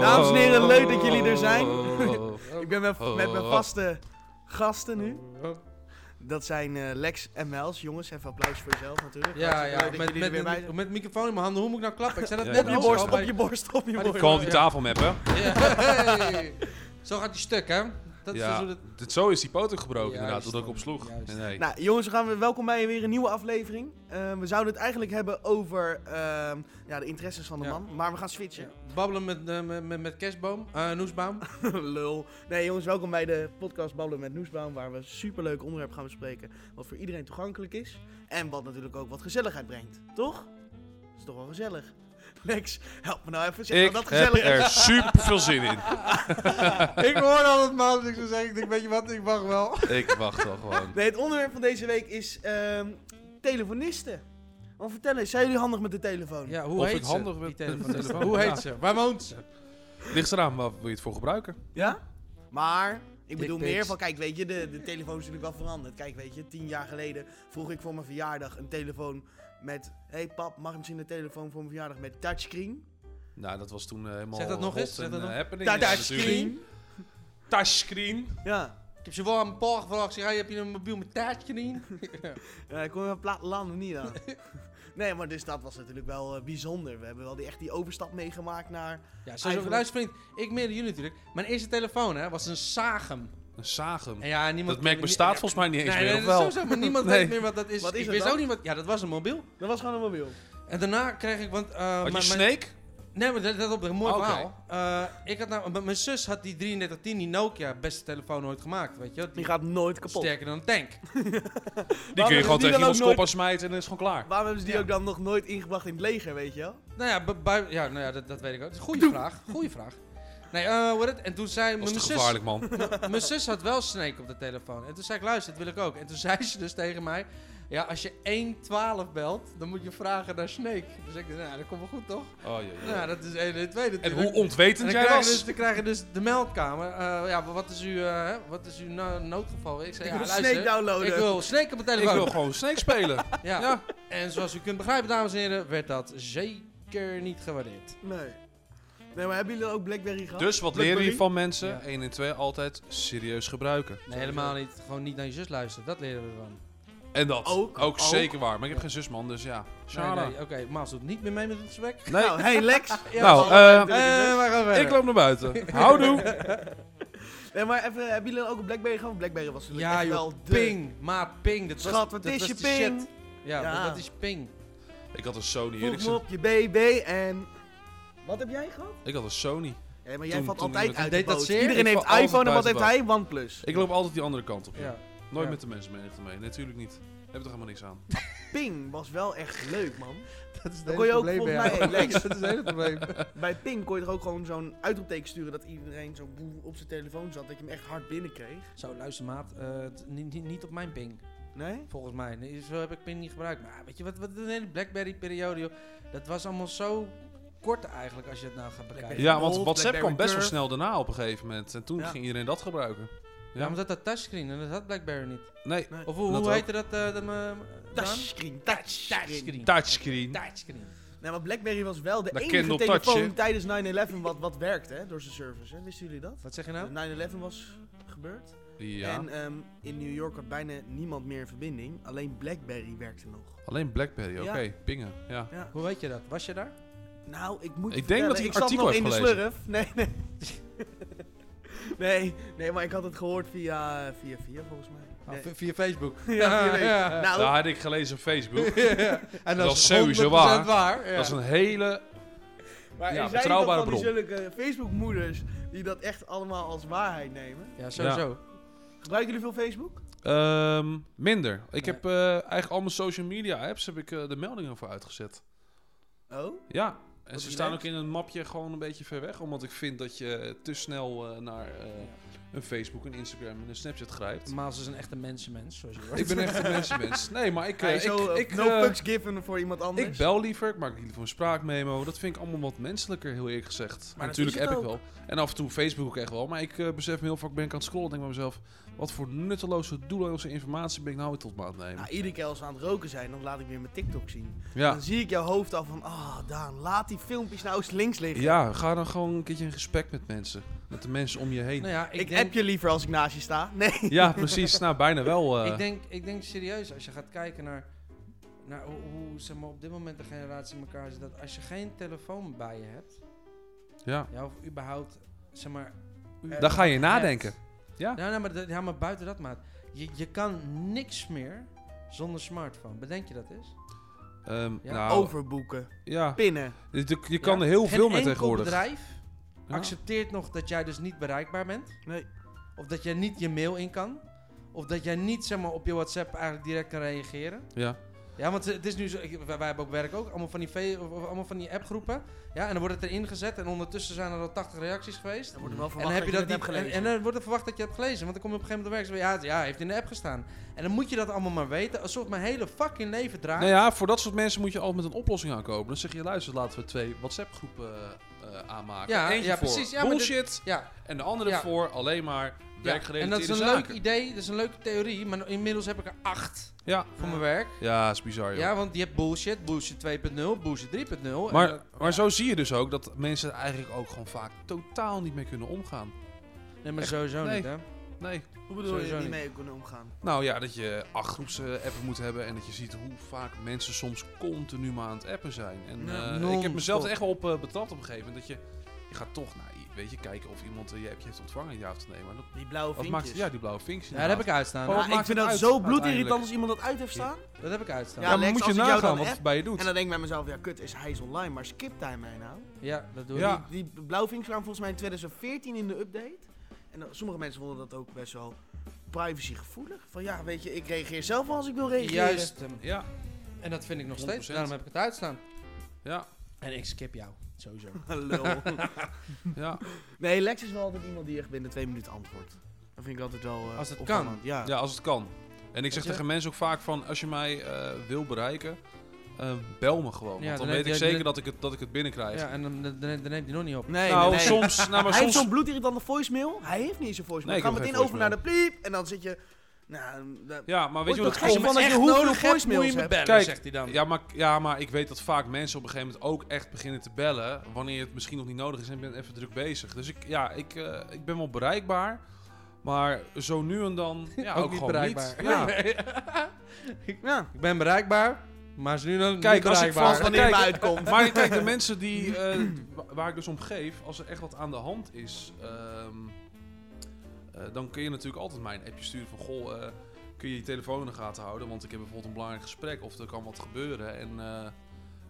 Dames en heren, leuk dat jullie er zijn. Ik ben met, met Oh. mijn vaste gasten nu. Dat zijn eh, Lex en Mels. Jongens, even applaus voor jezelf natuurlijk. Ja, Hartstikke ja, leuk dat met, jullie er met, weer bij met, zijn. met microfoon in mijn handen, hoe moet ik nou klappen? Ik zei dat Ja, net Op je ook borst, al op bij- je borst, op je Maar die borst. Gewoon die tafel meppen. Ja, hey. Zo gaat die stuk, hè? Dat is dus ja, hoe dat... dit- zo is die poten gebroken Juist, inderdaad, doordat ik man, opsloeg. juist. Nee, nee. Nou, jongens, we gaan weer, welkom bij weer een nieuwe aflevering. Eh, we zouden het eigenlijk hebben over ehm, ja, de interesses van de Ja. man, maar we gaan switchen. Babbelen met, eh, met, met, met kerstboom, eh noesbaum. Lul. Nee, jongens, welkom bij de podcast Babbelen met Noesbaum, waar we een superleuk onderwerp gaan bespreken, wat voor iedereen toegankelijk is en wat natuurlijk ook wat gezelligheid brengt, toch? Dat is toch wel gezellig. Lex, help me nou even, zeg Ik nou dat heb gezellig is. er super veel zin in. ik hoorde al het maand, dus ik zou zeggen, ik denk, weet je wat, ik wacht wel. Ik wacht al gewoon. Nee, het onderwerp van deze week is ehm, telefonisten. Want vertel eens, zijn jullie handig met de telefoon? Ja, hoe Of heet ik ze? handig die ben- telefoon. met de telefoon. Hoe Ja. heet ze? Waar woont ze? Ligt eraan, waar wil je het voor gebruiken? Ja? Maar, ik bedoel pics. meer van, kijk, weet je, de, de telefoon is natuurlijk wel veranderd. Kijk, weet je, tien jaar geleden vroeg ik voor mijn verjaardag een telefoon met... Hé hey pap, mag ik misschien een telefoon voor mijn verjaardag met touchscreen? Nou, dat was toen eh, helemaal Zeg dat nog hot eens, zeg en, dat eh, nog- happening. Touchscreen. Ja, natuurlijk. Touchscreen. Ja. Ik heb ze wel aan mijn paal gevraagd, ik zeg, hey, heb je een mobiel met taartje niet? ja ik kom in plat land nog niet aan. nee, maar dus dat was natuurlijk wel eh, bijzonder. We hebben wel die, echt die overstap meegemaakt naar... Ja, zo Eigenlijk- luister vriend, ik meerde jullie natuurlijk. Mijn eerste telefoon, hè, was een Sagem. Een Sagem. En ja, niemand Dat merk bestaat volgens mij niet eens Nee, meer, nee, of dat is wel? sowieso, maar niemand Nee. weet meer wat dat is. Wat is ik het wist dan? ook niet wat... Ja, dat was een mobiel. Dat was gewoon een mobiel. En daarna kreeg ik, want... eh, Had je mijn- mijn- Snake? Oh, Nee, maar dat, dat op een mooi Oké. verhaal. Eh, ik had nou, m- mijn zus had die 3310, die Nokia, beste telefoon ooit gemaakt, weet je. wel. Die Die gaat nooit kapot. sterker dan een tank. Die kun je hebben gewoon die tegen dan ook iemands nooit- kop aan smijten en dan is het gewoon klaar. Waarom hebben ze die Ja. ook dan nog nooit ingebracht in het leger, weet je wel? nou ja, bu- bui- ja, nou ja dat, dat weet ik ook. Dat is een goede vraag, goede vraag. Nee, eh, hoe heet het? En toen zei Dat mijn is te zus... gevaarlijk, man. Mijn zus had wel Snake op de telefoon. En toen zei ik, luister, dat wil ik ook. En toen zei ze dus tegen mij... Ja, als je 112 belt, dan moet je vragen naar Snake. Dus ik dacht, nou, dat komt wel goed, toch? Oh, jee, jee. Nou, dat is 1 en 2 En natuurlijk. hoe En ontwetend dan jij krijgen, dus, was? dan krijgen dus de meldkamer. eh, ja, wat is uw, eh, hè, wat is uw no- noodgeval? Ik zei, Ik ja, wil luister, Snake downloaden. ik wil Snake op mijn Ik telefoon. wil gewoon Snake spelen. Ja. Ja. En zoals u kunt begrijpen, dames en heren, werd dat zeker niet gewaardeerd. Nee. Nee, maar hebben jullie dan ook Blackberry gehad? Dus wat Blackberry? leren je van mensen? Ja. 1 en 2 altijd serieus gebruiken. Nee, helemaal niet. Gewoon niet naar je zus luisteren. Dat leren we ervan. En dat. Ook, Ook, ook. zeker waar. Maar ik heb geen zusman, dus ja. Shara. Nee, nee, Oké, Maas doet niet meer mee met het gesprek. Nee. Nou, hey Lex. Nou, Ja, eh, Eh, we gaan verder. ik loop naar buiten. Houdoe. Nee, maar even, hebben jullie dan ook een Blackberry gehad? Blackberry was natuurlijk Ja echt joh, wel de... ping. Maat, ping. Dat was- Schat, wat dat is was je de ping? shit. Ja, Ja. dat- dat is ping. Ik had een Sony Voeg me Ericsson. op je BB en... Wat heb jij gehad? Ik had een Sony. Ja, maar jij Toen- valt toen altijd iemand- uit de Deed dat boot. zeer? Ik Iedereen heeft val iPhone en wat altijd heeft buiten hij? OnePlus. Ik loop altijd die andere kant op. joh. Ja. Nooit Ja. met de mensen mensenmenigte mee. Natuurlijk niet. Heb er toch helemaal niks aan. Ping was wel echt leuk, man. Dat is Dan kon je ook volgens mij... hey, Lex, Dat is het hele probleem. bij Ping kon je toch ook gewoon zo'n uitroepteken sturen dat iedereen zo boe op zijn telefoon zat, dat je hem echt hard binnenkreeg? Zo, luister maat, eh, t- niet, niet, niet op mijn ping, Nee? volgens mij. Nee, Zo heb ik ping niet gebruikt. Maar weet je, wat, wat de hele Blackberry-periode, joh, dat was allemaal zo kort eigenlijk, als je het nou gaat bekijken. Ja, want Gold, WhatsApp kwam best wel Blackberry snel daarna op een gegeven moment. En toen Ja. ging iedereen dat gebruiken. Ja, omdat dat touchscreen, en dat had Blackberry niet. Nee. Nee. Of hoe, Dat hoe ook. heette dat, eh dat eh, Daan? Touchscreen, touchscreen. Touchscreen. Touchscreen. Touchscreen. Nee, Nou, maar Blackberry was wel de Dat enige Kindle telefoon Touch, hè? tijdens 9-11 wat, wat werkte, hè, door zijn servers. Hè? Wisten jullie dat? Wat zeg je nou? 9-11 was gebeurd. Ja. En ehm, in New York had bijna niemand meer verbinding. Alleen Blackberry werkte nog. Alleen Blackberry. Oké. Ja. Pingen. Ja. Hoe weet je dat? Was je daar? Nou, ik moet. je Ik denk dat vertellen, ik ik een zat artikel nog in heb de gelezen. slurf. Nee, nee. nee, nee, maar ik had het gehoord via. via, via volgens mij. Nee. Ah, via Facebook. Ja, via Facebook. Nou, Daar had ik gelezen op Facebook. En Dat is sowieso waar. 100% waar. ja. Dat is een hele... maar er ja, zijn betrouwbare toch van die zulke Facebook-moeders die dat echt allemaal als waarheid nemen. Ja, sowieso. Gebruiken jullie veel Facebook? Ehm, minder. Ik Nee. heb eh, eigenlijk al mijn social media apps heb ik eh, de meldingen voor uitgezet. Oh? Ja. En Wat ze relaxed. staan ook in een mapje gewoon een beetje ver weg, omdat ik vind dat je te snel eh, naar eh, een Facebook, een Instagram en een Snapchat grijpt. Mm. Maas is een echte mensenmens, zoals je hoort. Ik ben echt een mensenmens. Nee, maar ik... eh, Hij ik, zo, eh, ik, no eh, fucks given voor iemand anders. ik bel liever, ik maak liever een spraakmemo. Dat vind ik allemaal wat menselijker, heel eerlijk gezegd. Maar dat Natuurlijk is het app ik ook. wel. En af en toe Facebook ook echt wel. Maar ik eh, besef me heel vaak, ben ik aan het scrollen en denk bij mezelf... Wat voor nutteloze, doelloze informatie ben ik nou weer tot maat nemen. Nou, iedere keer als we aan het roken zijn, dan laat ik weer mijn TikTok zien. ja. Dan zie ik jouw hoofd al van, ah, Daan, laat die filmpjes nou eens links liggen. ja, ga dan gewoon een keertje in gesprek met mensen. Met de mensen om je heen. Nou ja, ik ik, denk, app je liever als ik naast je sta. Nee. Ja, precies. Nou, bijna wel. eh. ik, denk, ik denk serieus, als je gaat kijken naar, naar hoe, hoe, zeg maar, op dit moment de generatie in elkaar zit, dat als je geen telefoon bij je hebt, ja. ja, of überhaupt, zeg maar... eh, Dan ga je nadenken. Ja. Nou, nee, maar, dat- ja, maar buiten dat, maat. Je, je kan niks meer zonder smartphone. Bedenk je dat eens? Ehm, Ja. nou, Overboeken. ja. Pinnen. Je, je- je kan Ja, er heel veel mee Geen enkel tegenwoordig. bedrijf Ja. accepteert nog dat jij dus niet bereikbaar bent. Nee. Of dat jij niet je mail in kan. Of dat jij niet zeg maar, op je WhatsApp eigenlijk direct kan reageren. Ja. Ja, want het is nu zo. ik- wij, wij hebben ook werk ook. Allemaal van die, ve- of, of allemaal van die appgroepen. Ja, en dan wordt het erin gezet. En ondertussen zijn er al 80 reacties geweest. Dan wordt er wel En dan, verwacht heb je dat niet niet, en, en dan wordt er verwacht dat je hebt gelezen. Want dan kom je op een gegeven moment op werk. en zeg je, Ja, ja, heeft in de app gestaan. En dan moet je dat allemaal maar weten. Alsof mijn hele fucking leven draait. Nou ja, voor dat soort mensen moet je altijd met een oplossing aankomen. Dan zeg je, luister, laten we twee WhatsApp-groepen eh, eh, aanmaken. Ja, Eentje ja, voor precies. Ja, maar bullshit ja, en de andere Ja. voor alleen maar ja. En dat werkgerelateerde is een leuk zaken. idee. Dat is een leuke theorie. Maar inmiddels heb ik er acht Ja. voor mijn werk. ja, is bizar, joh. Ja, want je hebt bullshit. Bullshit 2.0. Bullshit 3.0. en maar dat- maar zo zie je dus ook dat mensen er eigenlijk ook gewoon vaak totaal niet mee kunnen omgaan. Nee, maar Echt, sowieso nee. niet, hè? Nee. Hoe bedoel je Sowieso niet niet. mee kunnen omgaan? Nou ja, dat je acht groepsappen moet hebben en dat je ziet hoe vaak mensen soms continu maar aan het appen zijn. En Ja, eh, ik heb non-stop. mezelf er echt wel op eh, betrapt op een gegeven moment. Dat je, je gaat toch naar, weet je, kijken of iemand eh, je appje heeft ontvangen, ja of te nemen. Dat, Die blauwe wat vinkjes. maakt, ja, die blauwe vinkjes. Ja, dat heb ik inderdaad. uitstaan. Oh, Maar wat maakt ik vind het dat uit, zo bloedirritant uiteindelijk? als iemand dat uit heeft staan. Dat heb ik uitstaan. Ja, Ja, maar Lex, moet je als ik jou nagaan dan wat app- het bij je doet. En dan denk ik bij mezelf, ja kut, is hij is online, maar skipt hij mij nou? Ja, dat doe ik. Ja. Die, die blauwvinkjes kwamen volgens mij in 2014 in de update. En dan- sommige mensen vonden dat ook best wel privacygevoelig. Van ja, weet je, ik reageer zelf wel als ik wil reageren. Juist. ehm, Ja, En dat vind ik nog steeds. 100%. Daarom heb ik het uitstaan. ja, En ik skip jou. Sowieso. Lul. ja. Nee, Lex is wel altijd iemand die echt binnen twee minuten antwoordt. Dat vind ik altijd wel... eh, Als het opvallend. kan. Ja. ja, als het kan. En ik zeg je? tegen mensen ook vaak van, als je mij eh, wil bereiken, eh, bel me gewoon. Ja, want dan, dan heb weet ik je- zeker dan- dat ik het, dat ik het binnenkrijg. Ja, en dan, dan, dan dan neemt hij nog niet op. Nee, nou, nee, nee. soms... Nou, maar hij heeft soms zo'n bloedirritante voicemail. Hij heeft niet eens een voicemail. Nee, ik Ga heb meteen geen over naar de pliep. En dan zit je... Nou, dat- ja, maar weet je hoe Wordt dat dat komt? gek van dat je hoeveel voicemails hebt. bellen, Kijk, zegt hij dan. Ja maar, ja, maar ik weet dat vaak mensen op een gegeven moment ook echt beginnen te bellen. Wanneer het misschien nog niet nodig is en ik ben even druk bezig. Dus ik, ja, ik, eh, ik ben wel bereikbaar. Maar zo nu en dan. Ja, ook, ook, niet gewoon bereikbaar. Niet. Ja. Ja. ik ben bereikbaar, maar is nu dan Kijk, niet als ik bereikbaar. Als wanneer Kijk, hij uitkomt. Maar kijk, de mensen die, eh, wa- waar ik dus om geef, als er echt wat aan de hand is, ehm, eh, dan kun je natuurlijk altijd mij een appje sturen van goh, eh, kun je je telefoon in de gaten houden, want ik heb bijvoorbeeld een belangrijk gesprek of er kan wat gebeuren en eh,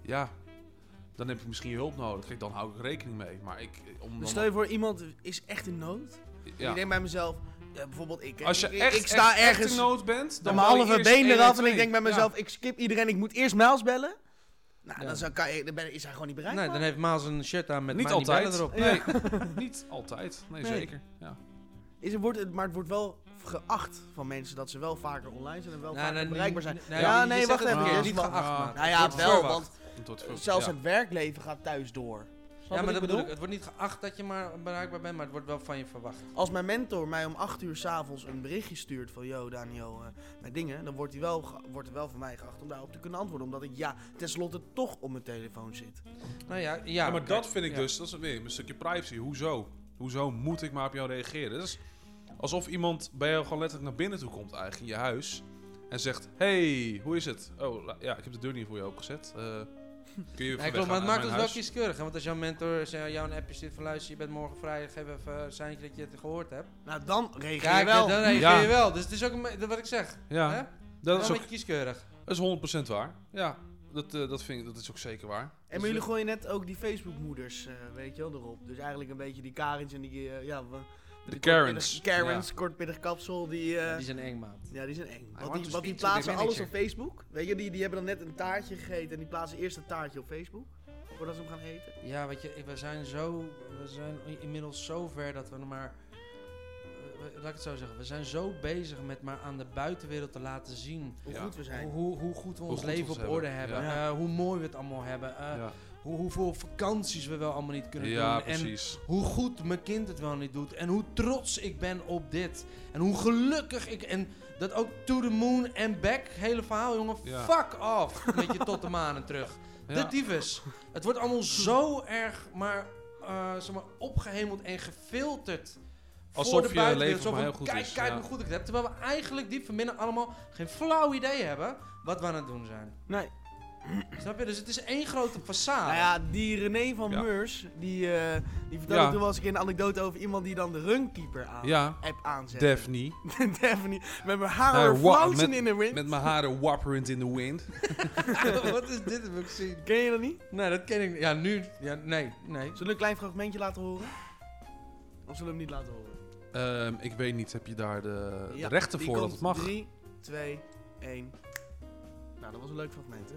ja, dan heb ik misschien je hulp nodig. Kijk, dan hou ik rekening mee, maar ik eh, om dan, Stel je voor, iemand is echt in nood. En ja. Dus Ik denk bij mezelf, eh, bijvoorbeeld ik. hè. als je ik, echt, ik sta echt, echt ergens in nood bent, met dan mijn bel je halve eerst been eraf en 112. ik denk bij mezelf, ik skip iedereen, ik moet eerst Miles bellen. Nou, Ja. dan, zou, kan, je- dan ben, is hij gewoon niet bereikbaar. Nee, dan heeft Maas een shirt aan met niet mij altijd. bellen erop. Nee, niet altijd. Nee, Nee. zeker. Ja. is het, wordt, het- maar het wordt wel geacht van mensen dat ze wel vaker online zijn en wel Nou, vaker nou, bereikbaar zijn. nou, ja, je nee, zegt wacht het even, verkeerd, dat is Niet wel- geacht, Ah. maat. nou Het ja, wordt wel, verwacht. want Het wordt veel- zelfs ja. het werkleven gaat thuis door. Snap je Ja, maar wat dat ik bedoel bedoel? ik. Het wordt niet geacht dat je maar bereikbaar bent, maar het wordt wel van je verwacht. Als mijn mentor mij om 8 uur s'avonds een berichtje stuurt van... Yo, Daniel, eh, mijn dingen... dan wordt, hij wel ge- wordt er wel van mij geacht om daarop te kunnen antwoorden. Omdat ik ja, tenslotte toch op mijn telefoon zit. Nou ja, ja. Ja, maar oké. dat vind ik Ja. dus, dat is weer een stukje privacy. Hoezo? Hoezo moet ik maar op jou reageren? Dat is alsof iemand bij jou gewoon letterlijk naar binnen toe komt eigenlijk, in je huis. En zegt, hey, hoe is het? Oh, la- ja, ik heb de deur niet voor je opengezet. Eh, kun je even Nee, klopt, maar weggaan het uit maakt dus mijn ons wel huis? kieskeurig. Hè? Want als jouw mentor zei- jou een appje stuurt van luister, je bent morgen vrij, geef even een seintje dat je het gehoord hebt. Nou, dan reageer Kijk, je wel. dan reageer Ja. je wel. Dus het is ook een be- wat ik zeg. hè? Ja, dat is, wel ook, een beetje kieskeurig. dat is 100% waar. Ja, dat, eh, dat, vind ik, dat is ook zeker waar. En maar jullie gooien net ook die Facebook-moeders, eh, weet je wel, erop. Dus eigenlijk een beetje die Karins en die... eh, ja, we- die Karens. kortpittig- Karens, kortpittig kapsel, die... eh, Die zijn eng, maat. ja, die zijn eng. Want want die, to want die speak to the plaatsen alles manager. op Facebook. Weet je, die, die hebben dan net een taartje gegeten en die plaatsen eerst een taartje op Facebook. Voordat ze hem gaan eten. Ja, weet je, ik- we zijn zo, we zijn i- inmiddels zo ver dat we nog maar, eh, we- laat ik het zo zeggen, we zijn zo bezig met maar aan de buitenwereld te laten zien Hoe Ja. goed we zijn. hoe, hoe, hoe goed we ons goed we leven ons op hebben, orde hebben, ja. eh, hoe mooi we het allemaal hebben, eh, ja, hoe, hoeveel vakanties we wel allemaal niet kunnen ja doen. En precies. hoe goed mijn kind het wel niet doet. En hoe trots ik ben op dit. En hoe gelukkig ik. En dat ook to the moon and back. Hele verhaal, jongen. Ja. Fuck off. Met je tot de manen terug. Ja. De tyfus. Het wordt allemaal zo erg maar, eh, zeg maar opgehemeld en gefilterd. Alsof voor je de buitenwereld. leven Zo maar van, heel goed kijk, is, Kijk ja. hoe goed ik het heb. Terwijl we eigenlijk diep van binnen allemaal geen flauw idee hebben wat we aan het doen zijn. Nee. Snap je? Dus het is één grote façade. Nou ja, die René van Ja. Meurs, die, eh, die vertelde Ja. toen wel eens een keer een anekdote over iemand die dan de runkeeper aan Ja, app aanzet. Daphne. Daphne, met mijn haar Nou, wa- flautend met- in de wind. Met mijn haren wapperend in the wind. wat is dit? Heb ik gezien. Ken je dat niet? Nee, dat ken ik niet. Ja, nu... Ja, nee, nee. Zullen we een klein fragmentje laten horen? Of zullen we hem niet laten horen? Ehm, ik weet niet, heb je daar de, Eh, de Ja, rechten die voor dat komt. het mag? 3, 2, 1. Nou, dat was een leuk fragment, hè?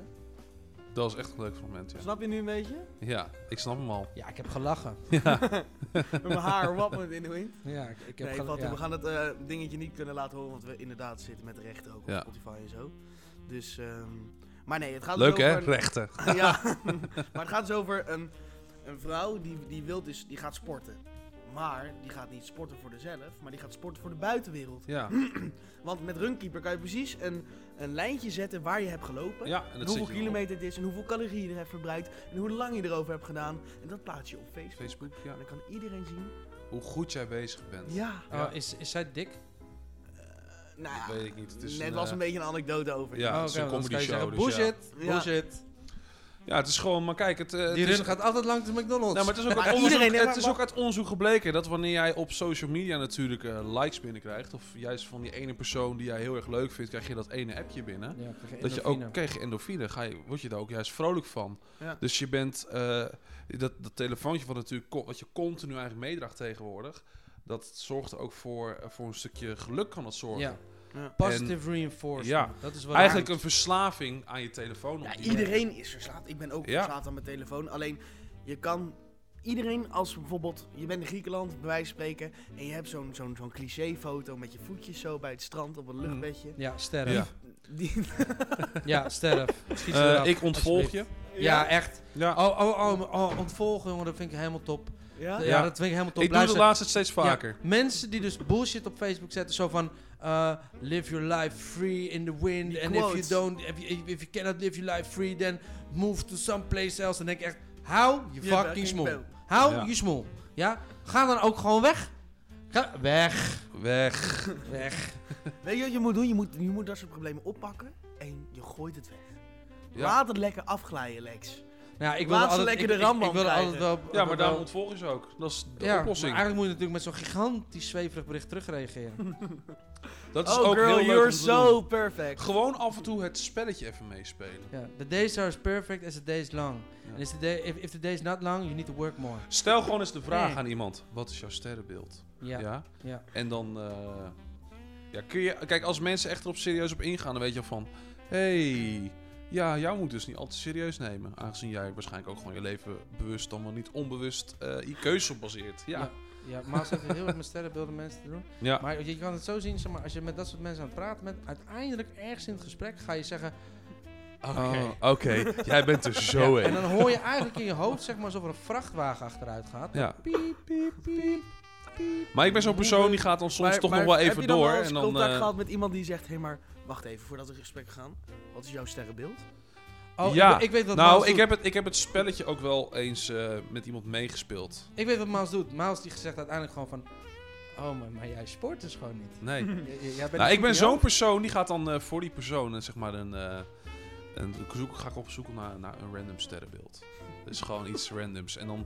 Dat was echt een leuk moment, ja. Snap je nu een beetje? Ja, ik snap hem al. Ja, ik heb gelachen. Met mijn haar wappend in de wind. Ja, ik, ik heb Nee, gelachen. Fatou, ja. we gaan het eh, dingetje niet kunnen laten horen, want we inderdaad zitten met rechten ook op Ja. Spotify en zo. Dus, ehm, maar nee, het gaat Leuk dus hè, over... rechten. ja, maar het gaat dus over een, een vrouw die, die, wil dus, die gaat sporten. Maar die gaat niet sporten voor zichzelf, maar die gaat sporten voor de buitenwereld. Ja, Want met Runkeeper kan je precies een, een lijntje zetten waar je hebt gelopen. ja en en dat hoeveel zit je nog op kilometer het is en hoeveel calorieën je hebt verbruikt. En hoe lang je erover hebt gedaan. En dat plaats je op Facebook. Facebook, ja. En dan kan iedereen zien. Hoe goed jij bezig bent. Ja. Ja. Oh, is, is zij dik? Nou ja, Dat weet ik niet. Het is net een, was eh, een beetje een anekdote over. Ja, oh, het is een oké, want anders comedy kan je show. zeggen, dus ja. bullshit, Ja. bullshit. Ja, het is gewoon, maar kijk, het, eh, Die het is, run gaat altijd langs de McDonald's. Nou, maar het is ook, Maar uit onderzoek, iedereen, hè, het maar- is ook uit onderzoek gebleken dat wanneer jij op social media natuurlijk eh, likes binnenkrijgt, of juist van die ene persoon die jij heel erg leuk vindt, krijg je dat ene appje binnen. Ja, ik krijg Dat je ook endorfine. kreeg endorfine, ga je, word je daar ook juist vrolijk van. Ja. Dus je bent eh, dat, dat telefoontje wat natuurlijk co- wat je continu eigenlijk meedraagt tegenwoordig, dat zorgt er ook voor, eh, voor een stukje geluk kan dat zorgen. Ja. Ja. Positive reinforcement. ja, Dat is wat Eigenlijk het een verslaafing aan je telefoon. op Ja, die iedereen is verslaafd. Ik ben ook Ja. verslaafd aan mijn telefoon. Alleen, je kan... Iedereen, als bijvoorbeeld, je bent in Griekenland, bij wijze van spreken, en je hebt zo'n zo'n zo'n cliché-foto met je voetjes zo bij het strand Mm. op een luchtbedje. is. Ja, sterf. Ja. Ja, Die, sterf. Schiet Eh, ze eraf, ik ontvolg je. alsjeblieft. Ja, echt. Ja. Oh, oh, oh, oh, ontvolgen, jongen, dat vind ik helemaal top. Ja, ja? Ja. dat vind ik helemaal top. ik doe de Luister, laatste steeds Ja, vaker. mensen die dus bullshit op Facebook zetten, zo van eh, live your life free in the wind. Die and if you quotes. don't, if you, if you cannot live your life free, then move to someplace else. Dan denk ik echt, hou je Je fucking fucking smoel. bel. Hou Ja. je smoel. Ja? Ga dan ook gewoon weg. Ga, weg, Weg. weg. Weet je wat je moet doen? Je moet, je moet dat soort problemen oppakken en je gooit het weg. Ja. Laat het lekker afglijden, Lex. Nou, ik Laat wilde ze altijd, lekker ik- de ik- Rambam ik wilde krijgen. altijd wel, Ja, maar wel- daarom ontvolgen ze ook. Dat is de Ja, maar oplossing. eigenlijk moet je natuurlijk met zo'n gigantisch zweverig bericht terugreageren. Dat is Oh ook girl, heel leuk you're om te so doen. perfect. Gewoon af en toe het spelletje even meespelen. ja. The days are as perfect as the day is long. Ja. And is the day, if, if the day is not long, you need to work more. Stel gewoon eens de vraag Nee. aan iemand. Wat is jouw sterrenbeeld? Ja, ja. ja. En dan... eh, ja, kun je... Kijk, als mensen echt erop serieus op ingaan, dan weet je al van... hey, ja, jou moet dus niet al te serieus nemen. Aangezien jij waarschijnlijk ook gewoon je leven bewust, dan wel niet onbewust, eh je keuze op baseert. Ja. Ja. Ja, Maas heeft heel erg met sterrenbeelden mensen te doen. Ja. Maar je kan het zo zien, zeg maar, als je met dat soort mensen aan het praten bent, uiteindelijk ergens in het gesprek ga je zeggen... Oké. Oh, Oké, jij bent er zo Ja, en in. dan hoor je eigenlijk in je hoofd, zeg maar, alsof er een vrachtwagen achteruit gaat. Ja. Piep, piep, piep, piep. Maar ik ben zo'n persoon die gaat dan soms Maar- toch maar nog wel heb even je dan door. wel eens en dan, contact eh, gehad met iemand die zegt, hé hey, maar, wacht even, voordat we in gesprek gaan. Wat is jouw sterrenbeeld? Oh, Ja. ik, we- ik weet wat Maas Nou, doet. ik heb, het, ik heb het spelletje ook wel eens eh, met iemand meegespeeld. Ik weet wat Maas doet. Maas die zegt uiteindelijk gewoon van... Oh, maar, maar jij sport dus gewoon niet. Nee. J- j- jij bent nou, een ik ben zo'n champion. persoon die gaat dan eh, voor die persoon eh, zeg maar een. eh, een ik zoek, ga ik op zoek naar, naar een random sterrenbeeld. Dus gewoon iets randoms. En dan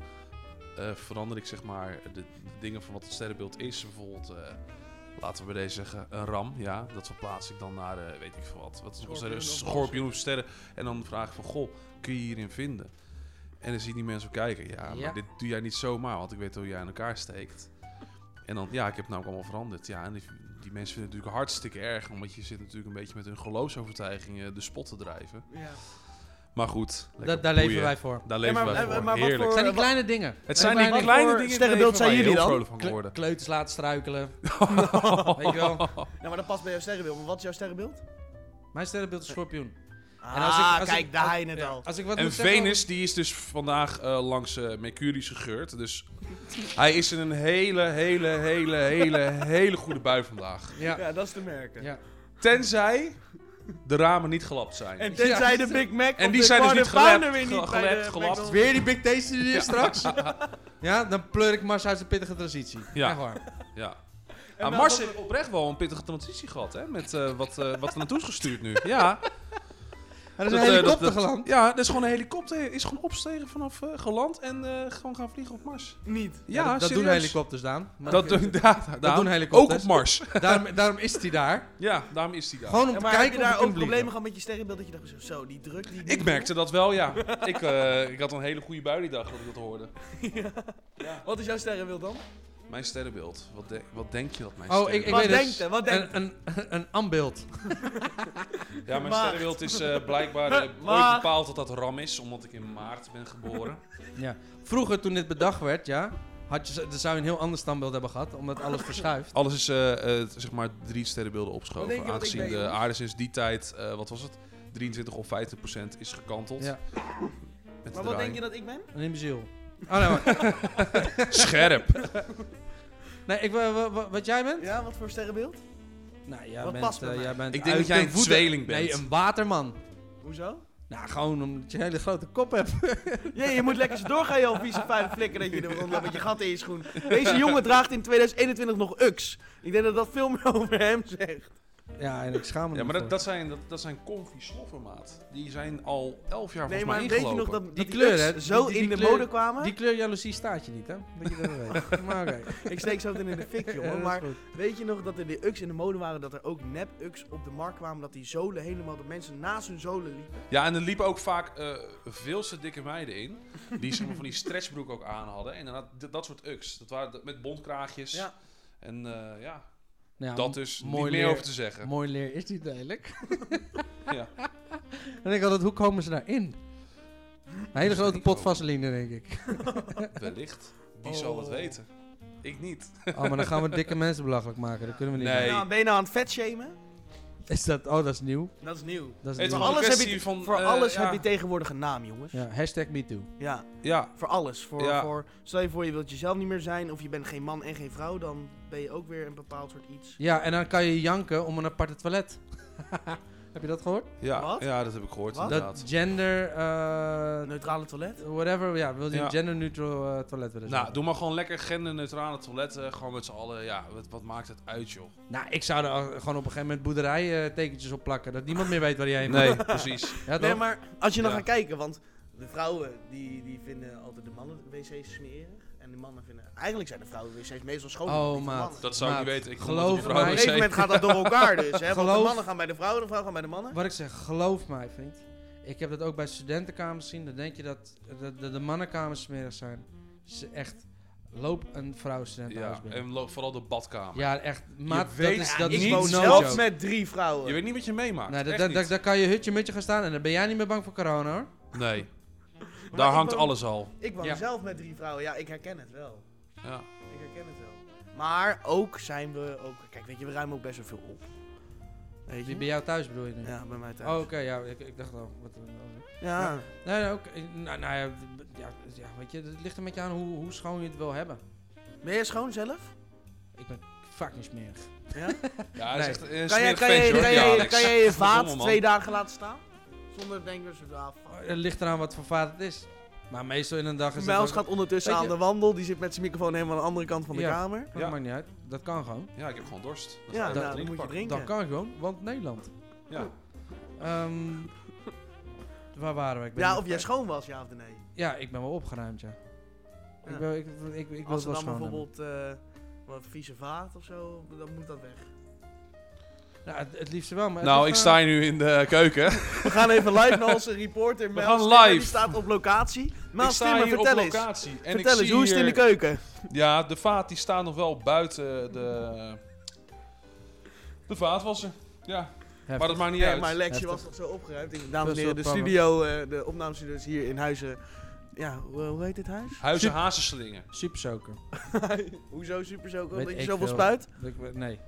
eh, verander ik zeg maar de, de dingen van wat het sterrenbeeld is. Bijvoorbeeld, eh, laten we bij deze zeggen, een ram. Ja, dat verplaats ik dan naar eh, weet ik veel wat. Wat is Schorpioen een of schorpioen of sterren? En dan vraag ik van, goh, kun je hierin vinden? En dan zien die mensen ook kijken. Ja, maar Ja. dit doe jij niet zomaar, want ik weet hoe jij aan elkaar steekt. En dan, ja, ik heb het namelijk allemaal veranderd. Ja, en die, die mensen vinden het natuurlijk hartstikke erg, omdat je zit natuurlijk een beetje met hun geloofsovertuigingen de spot te drijven. Ja. Maar goed. lekker Da- daar leven boeien. wij voor. Daar Ja, leven maar- wij maar- voor. maar wat Heerlijk. voor- Het zijn die wat- kleine dingen. Het zijn Wij- die wij- kleine voor dingen in het sterrenbeeld leven waar zijn je jullie heel dan? vrolijk van kle- worden. kleuters laten struikelen. Weet je wel? Nou, maar dat past bij jouw sterrenbeeld. Maar wat is jouw sterrenbeeld? Mijn sterrenbeeld is schorpioen. Ah, als ik- als ik- kijk, daar als- hij het ja, al. Als ik wat En moet zeggen over- Venus die is dus vandaag eh, langs eh, Mercurius gegeurd. Dus hij is in een hele, hele, hele, hele, hele goede bui vandaag. Ja. Ja, dat is te merken. ja. Tenzij de ramen niet gelapt zijn. En tenzij Ja. de Big Mac En of die de zijn dus Quarter niet gelapt, Pounder weer ge- niet bij gelapt, de gelapt. McDonald's. Weer die big taste hier straks. Ja, dan pleur ik Mars uit de pittige transitie. Ja. Echt waar. Ja. En nou, Ah, dan- Mars heeft oprecht wel een pittige transitie gehad, hè? Met eh, wat, eh, wat er naartoe is gestuurd nu. Ja, Er is Dat, een eh, dat- helikopter dat- geland. ja, dat is gewoon een helikopter. Is gewoon opstegen vanaf eh, geland en eh, gewoon gaan vliegen op Mars. Niet. Ja, dat, dat doen serieus. helikopters, Daan. Maar Dat, doen, ja, daarom. doen helikopters. Ook op Mars. daarom, daarom is hij daar. Ja, daarom is die daar. Gewoon om Ja, te maar heb kijken je of daar het kan ook problemen vliegen. gehad met je sterrenbeeld? Dat je dacht, zo, zo, die druk die... Ik merkte dat wel, ja. Ik, eh, ik had een hele goede bui die dag dat ik dat hoorde. Wat is jouw sterrenbeeld dan? Mijn sterrenbeeld. Wat, de- wat denk je dat mijn Oh, ik, ik sterrenbeeld- Wat weet denkt het. hij? Wat denkt een, een, een ambeeld. Ja, mijn Maart. sterrenbeeld is eh, blijkbaar eh, ooit Maart. bepaald dat dat ram is, omdat ik in maart ben geboren. Ja. Vroeger, toen dit bedacht werd, ja, had je, dan zou je een heel ander standbeeld hebben gehad, omdat alles verschuift. Alles is eh, eh, zeg maar drie sterrenbeelden Wat opgeschoven. denk je wat ik Aangezien ben, de jongens? aarde sinds die tijd, eh, wat was het? 23 of 50 procent is gekanteld. Ja. Met Maar de wat denk draaiing. je dat ik ben? Een imbeciel. Oh, nee, maar- Scherp! nee, ik, wa- wa- wa- wat jij bent? Ja, wat voor sterrenbeeld? Nou, jij Wat bent, past bij eh, mij? jij bent Ik denk dat uit jij de een woede- tweeling bent. Nee, een waterman. Hoezo? Nou, gewoon omdat je een hele grote kop hebt. Ja, je moet lekker zo doorgaan, joh, vieze vuile flikker, dat je er rondloopt met je gat in je schoen. Deze jongen draagt in 2021 nog UX. Ik denk dat dat veel meer over hem zegt. Ja, en ik schaam me Ja, maar dat, ervoor. dat zijn, dat, dat zijn comfy sloffen, maat. Die zijn al 11 jaar Nee, volgens maar mij weet je nog ingelopen. dat, dat die kleur, UX hè, die- zo die- die in de kleur- mode kwamen? Die kleur jaloezie staat je niet, hè? Dat je dat wel weet. Maar oké. Ik steek zo meteen in de fik, Ja, dat jongen. is Maar goed. weet je nog dat er die UX in de mode waren, dat er ook nep-UX op de markt kwamen, dat die zolen helemaal, dat mensen naast hun zolen liepen? Ja, en er liepen ook vaak eh veel te dikke meiden in. Die zeg maar, van die stretchbroek ook aan hadden. En inderdaad, d- dat soort uks. Dat waren d- met bondkraagjes. Ja. En eh, ja, Nou, dat is mooi niet meer leer. over te zeggen. Mooi leer is niet lelijk. Ja. Dan denk ik altijd, hoe komen ze daarin? Een hele grote pot vaseline, denk ik. Wellicht. Wie zal het Oh. weten? Ik niet. Oh, maar dan gaan we dikke mensen belachelijk maken. Dat kunnen we niet Nee. doen. Nou, ben je nou aan het vetshamen? Is dat... Oh, dat is nieuw. Dat is nieuw. Het is Dat is nieuw. wel- alles alles heb je heb je van... Voor eh, alles ja. heb je tegenwoordig een naam, jongens. Ja, hashtag MeToo. Ja, Ja, voor alles. Voor, Ja. voor, stel je voor, je wilt jezelf niet meer zijn, of je bent geen man en geen vrouw, dan ben je ook weer een bepaald soort iets. Ja, en dan kan je janken om een aparte toilet. Heb je dat gehoord? ja, Wat? ja, dat heb ik gehoord Wat? inderdaad. Dat gender... eh, Een neutrale toilet? whatever, ja, wil je Ja. een genderneutral eh, toilet willen Nou, doe maar gewoon lekker genderneutrale toiletten. Gewoon met z'n allen. Ja, wat, wat maakt het uit, joh? Nou, ik zou er al- gewoon op een gegeven moment boerderijtekentjes op plakken. Dat niemand meer weet waar hij heen moet. Nee, precies. Ja, Nee, toch? maar als je dan Ja. gaat kijken, want de vrouwen die, die vinden altijd de mannen wc's smeren. En de mannen vinden... Eigenlijk zijn de vrouwen wc's meestal schoner Oh, dan die van maat. mannen. Dat zou ik Maat, niet weten. Ik kom geloof op die vrouwen Op een mij- wc. gegeven moment gaat dat door elkaar dus. Hè? Want de Geloof- mannen gaan bij de vrouwen, de vrouwen gaan bij de mannen. Wat ik zeg, geloof mij, vriend. Ik heb dat ook bij studentenkamers gezien. Dan denk je dat de, de, de mannenkamers smerig zijn. Ze echt, loop een vrouw studentenhuis Ja, binnen. en lo- vooral de badkamer. ja, echt. Maat, dat weet is, dat ik is niet no woon zo. joke. zelf met drie vrouwen. Je weet niet wat je meemaakt. Nou, Echt dat- dat- dat- niet. daar kan je hutje mutje gaan staan en dan ben jij niet meer bang voor corona hoor. Nee, Maar daar ik hangt woon- alles al. Ik woon Ja. zelf met drie vrouwen. Ja, ik herken het wel. Ja. Ik herken het wel. Maar ook zijn we ook... Kijk, weet je, we ruimen ook best wel veel op. Weet Die je? bij jou thuis bedoel je nu? Ja, bij mij thuis. Oh, oké, ja, ik, ik dacht al. Wat, wat- ja. nee, nee, oké, nou, nou ja, d- ja, ja, weet je, het ligt een beetje aan hoe, hoe schoon je het wil hebben. Ben jij schoon zelf? Ik ben fucking smerig. Ja? Ja, hij is Nee. echt een Kan jij, smerig kan ventje, jij, hoor, kan die jij, Alex. kan jij je Verdomme, vaat man. twee dagen laten staan? Zonder denken ze, ah, fuck. Oh, Het ligt eraan wat voor vader het is. Maar meestal in een dag is Mijls het... ook- gaat ondertussen Weet aan je- de wandel. Die zit met zijn microfoon helemaal aan de andere kant van de Ja. kamer. Dat Ja. maakt niet uit. Dat kan gewoon. Ja, ik heb gewoon dorst. Dan ga Ja, ik nou, wat dan moet je pakken. drinken. Dat kan gewoon, want Nederland. Ja. Ehm, waar waren we? Ik ben Ja, niet- of jij schoon was, ja of nee. Ja, ik ben wel opgeruimd, ja. Ja. Ik, wil, ik, ik, ik wil Als er het wel dan schoon hebben. bijvoorbeeld eh, wat vieze vaat of zo, dan moet dat weg. Ja, Nou, het, het liefste wel, maar... het Nou, ik ligt sta eraan- hier nu in de keuken. We gaan even live naar onze reporter. Mijls gaan Timmer, live. Die staat op locatie. ik Mijls sta Timmer, hier op vertel eens. locatie. En ik vertel eens, zie hoe is het in de hier- keuken? Ja, de vaat die staan nog wel buiten de... De vaatwasser. Ja. Maar dat maakt niet Nee, uit. maar Lexje Heftig. was nog zo opgeruimd. Ik- Dames en Dat heren, de soort plannen. studio, eh, de opnamestudio is hier in Huizen. eh, Ja, hoe, hoe heet dit huis? Huizen Sup- hazenslingen. Supersoker. Hoezo super zo? Weet Omdat je ik zoveel veel. spuit? Dat ik- Nee.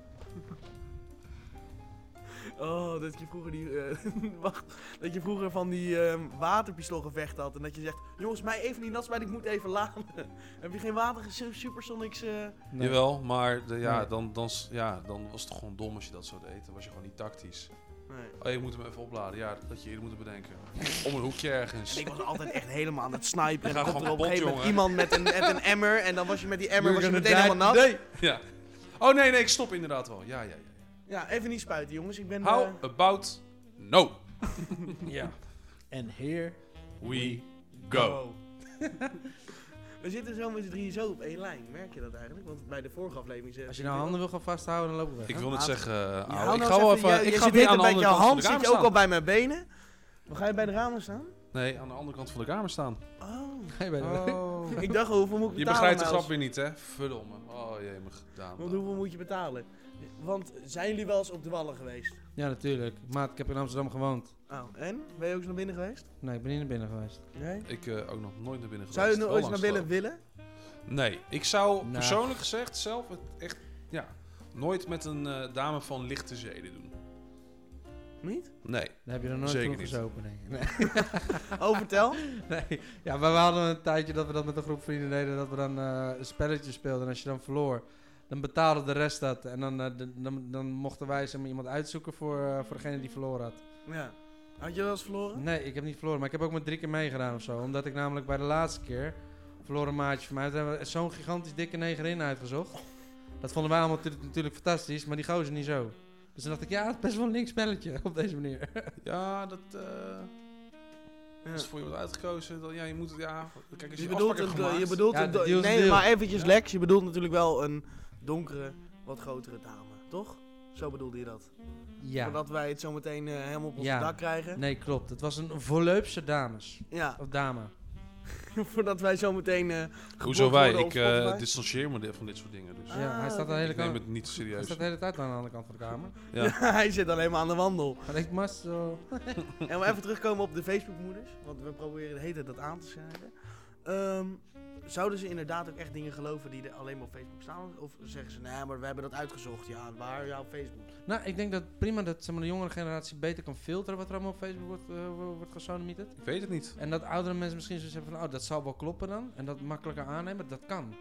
Oh, dat je vroeger die. eh, wacht. Dat je vroeger van die ehm waterpistoolgevechten had. En dat je zegt: jongens, mij even niet nat spuiten, ik moet even laden. Heb je geen water ge- supersonics? eh? nee. Jawel, maar de- ja, Nee. dan, dan, s- ja, dan was het gewoon dom als je dat zo deed. Dan was je gewoon niet tactisch. Nee. Oh, je moet hem even opladen. Ja, dat had je eerder moet bedenken. Om een hoekje En ergens. ik was altijd echt helemaal aan het snipen. En Je dan gaat komt gewoon er op een gegeven kapot, moment iemand met een, met een emmer. En dan was je met die emmer was je meteen helemaal nat. Nee. Ja. Oh nee, nee, ik stop inderdaad wel. Ja, ja, ja. Ja, even niet spuiten, jongens. Ik ben. eh, How about no? Ja. En here We go. We zitten zo met z'n drieën zo op één lijn. Merk je dat eigenlijk? Want bij de vorige aflevering... eh, zei- Als je nou handen wil gaan vasthouden, dan lopen we weg. Ik hè? wil net Maat. zeggen, eh, Ja, Aal, hou ik nou ga eens wel even- even. je- Ik je ga zit weer net aan de met andere je kant van hand de zit kamer je ook al staan. bij mijn benen. Maar ga je bij de ramen staan? Nee, aan de andere kant van de kamer staan. Oh. Ga je bij de Ik dacht, al, hoeveel moet ik betalen? Je begrijpt de nou grap als- weer niet, hè? Verdomme. Oh jee, mijn gedaan. Want hoeveel moet je betalen? Want zijn jullie wel eens op de Wallen geweest? Ja, natuurlijk. Maat, ik heb in Amsterdam gewoond. Oh, en? Ben je ook eens naar binnen geweest? Nee, ik ben niet naar binnen geweest. Nee. Ik eh, ook nog nooit naar binnen geweest. Zou je nog Wel ooit naar Oh, langs binnen willen? gelopen. Nee, ik zou Nou. persoonlijk gezegd zelf het echt, ja, nooit met een eh, dame van lichte zeden doen. Niet? Nee. Daar heb je er nooit Zeker voor niet. gezopen, denk ik. Nee. Oh, vertel. Nee, ja, maar we hadden een tijdje dat we dat met een groep vrienden deden. Dat we dan eh, een spelletje speelden. En als je dan verloor, dan betaalde de rest dat. En dan, eh, de- dan, dan mochten wij zeg maar, iemand uitzoeken voor, eh, voor degene die verloren had. Ja. Had je wel eens verloren? Nee, ik heb niet verloren. Maar ik heb ook maar drie keer meegedaan of zo. Omdat ik namelijk bij de laatste keer verloren een maatje van mij. Toen hebben we zo'n gigantisch dikke negerin uitgezocht. Dat vonden wij allemaal tu- natuurlijk fantastisch, maar die gozer niet zo. Dus toen dacht ik, ja, het is best wel een link spelletje op deze manier. Ja, dat eh, Ja. is voor je wordt uitgekozen. Dan, ja, je moet het, ja. Kijk, als je, Je bedoelt, afpakker een, do- gemaakt- je bedoelt Ja, een de do- deal is een Nee, deal. maar eventjes Ja. Lex, je bedoelt natuurlijk wel een donkere, wat grotere dame, toch? Zo bedoelde je dat. Ja, Voordat wij het zo meteen eh, helemaal op ons Ja. dak krijgen. nee, klopt. Het was een volleupse dames. Ja, Of dame. voordat wij zo meteen. eh Hoezo wij? Ik eh, Uh, distancieer me de- van dit soort dingen. Dus. Ah, Ja, hij staat de hele Ik neem kant... het niet Hij serieus. staat de hele tijd aan de andere kant van de kamer. Ja. Hij zit alleen maar aan de wandel. Maar ik must eh, zo... En we even terugkomen op de Facebookmoeders, want we proberen de hele tijd dat aan te snijden. Ehm, zouden ze inderdaad ook echt dingen geloven die er alleen maar op Facebook staan? Of zeggen ze, nee, maar we hebben dat uitgezocht. Ja, waar? Ja, op Facebook. Nou, ik denk dat prima dat zeg maar, de jongere generatie beter kan filteren wat er allemaal op Facebook wordt, eh, wo- wordt gesodemieterd. Ik weet het niet. En dat oudere mensen misschien zoiets hebben van, oh, dat zal wel kloppen dan. En dat makkelijker aannemen, dat kan.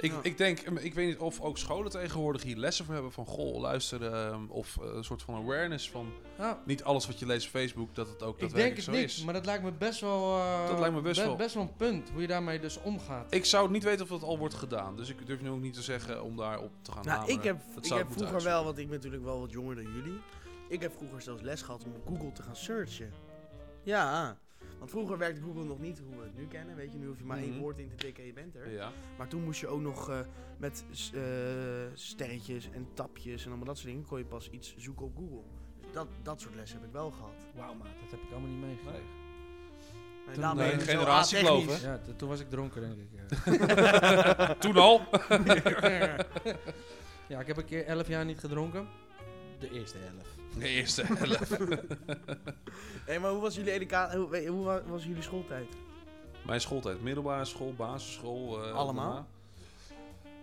Ik, Ja. ik denk, ehm, ik weet niet of ook scholen tegenwoordig hier lessen voor hebben van goh, luisteren. ehm, of eh, een soort van awareness van Nou, niet alles wat je leest op Facebook, dat het ook ik daadwerkelijk denk het zo niet, is. maar dat lijkt me best wel... eh, Dat lijkt me best wel. een punt, hoe je daarmee dus omgaat. Ik zou niet weten of dat al wordt gedaan. Dus ik durf nu ook niet te zeggen om daarop te gaan Nou, hameren. ik heb, Dat ik zou heb ik moeten vroeger wel, want ik ben natuurlijk wel wat jonger dan jullie. Ik heb vroeger zelfs les gehad om op Google te gaan searchen. Ja, want vroeger werkte Google nog niet hoe we het nu kennen. Weet je, nu hoef je maar één Mhm. woord in te tikken en je bent er. Ja. Maar toen moest je ook nog eh, met s- eh, sterretjes en tapjes en allemaal dat soort dingen kon je pas iets zoeken op Google. Dus dat, dat soort lessen heb ik wel gehad. Wauw, maat, dat heb ik allemaal niet meegemaakt. Nee. Nee, Toen- eh, daarom nee, ben ik zo generatie atechnisch. geloof, Ja, t- toen was ik dronken, denk ik. eh. Toen al. ja, ik heb een keer 11 jaar niet gedronken. De eerste helft. De eerste helft. Nee, maar hoe was jullie, educa- hoe, hoe wa- was jullie schooltijd? Mijn schooltijd. Middelbare school, basisschool. eh, Allemaal? daarna.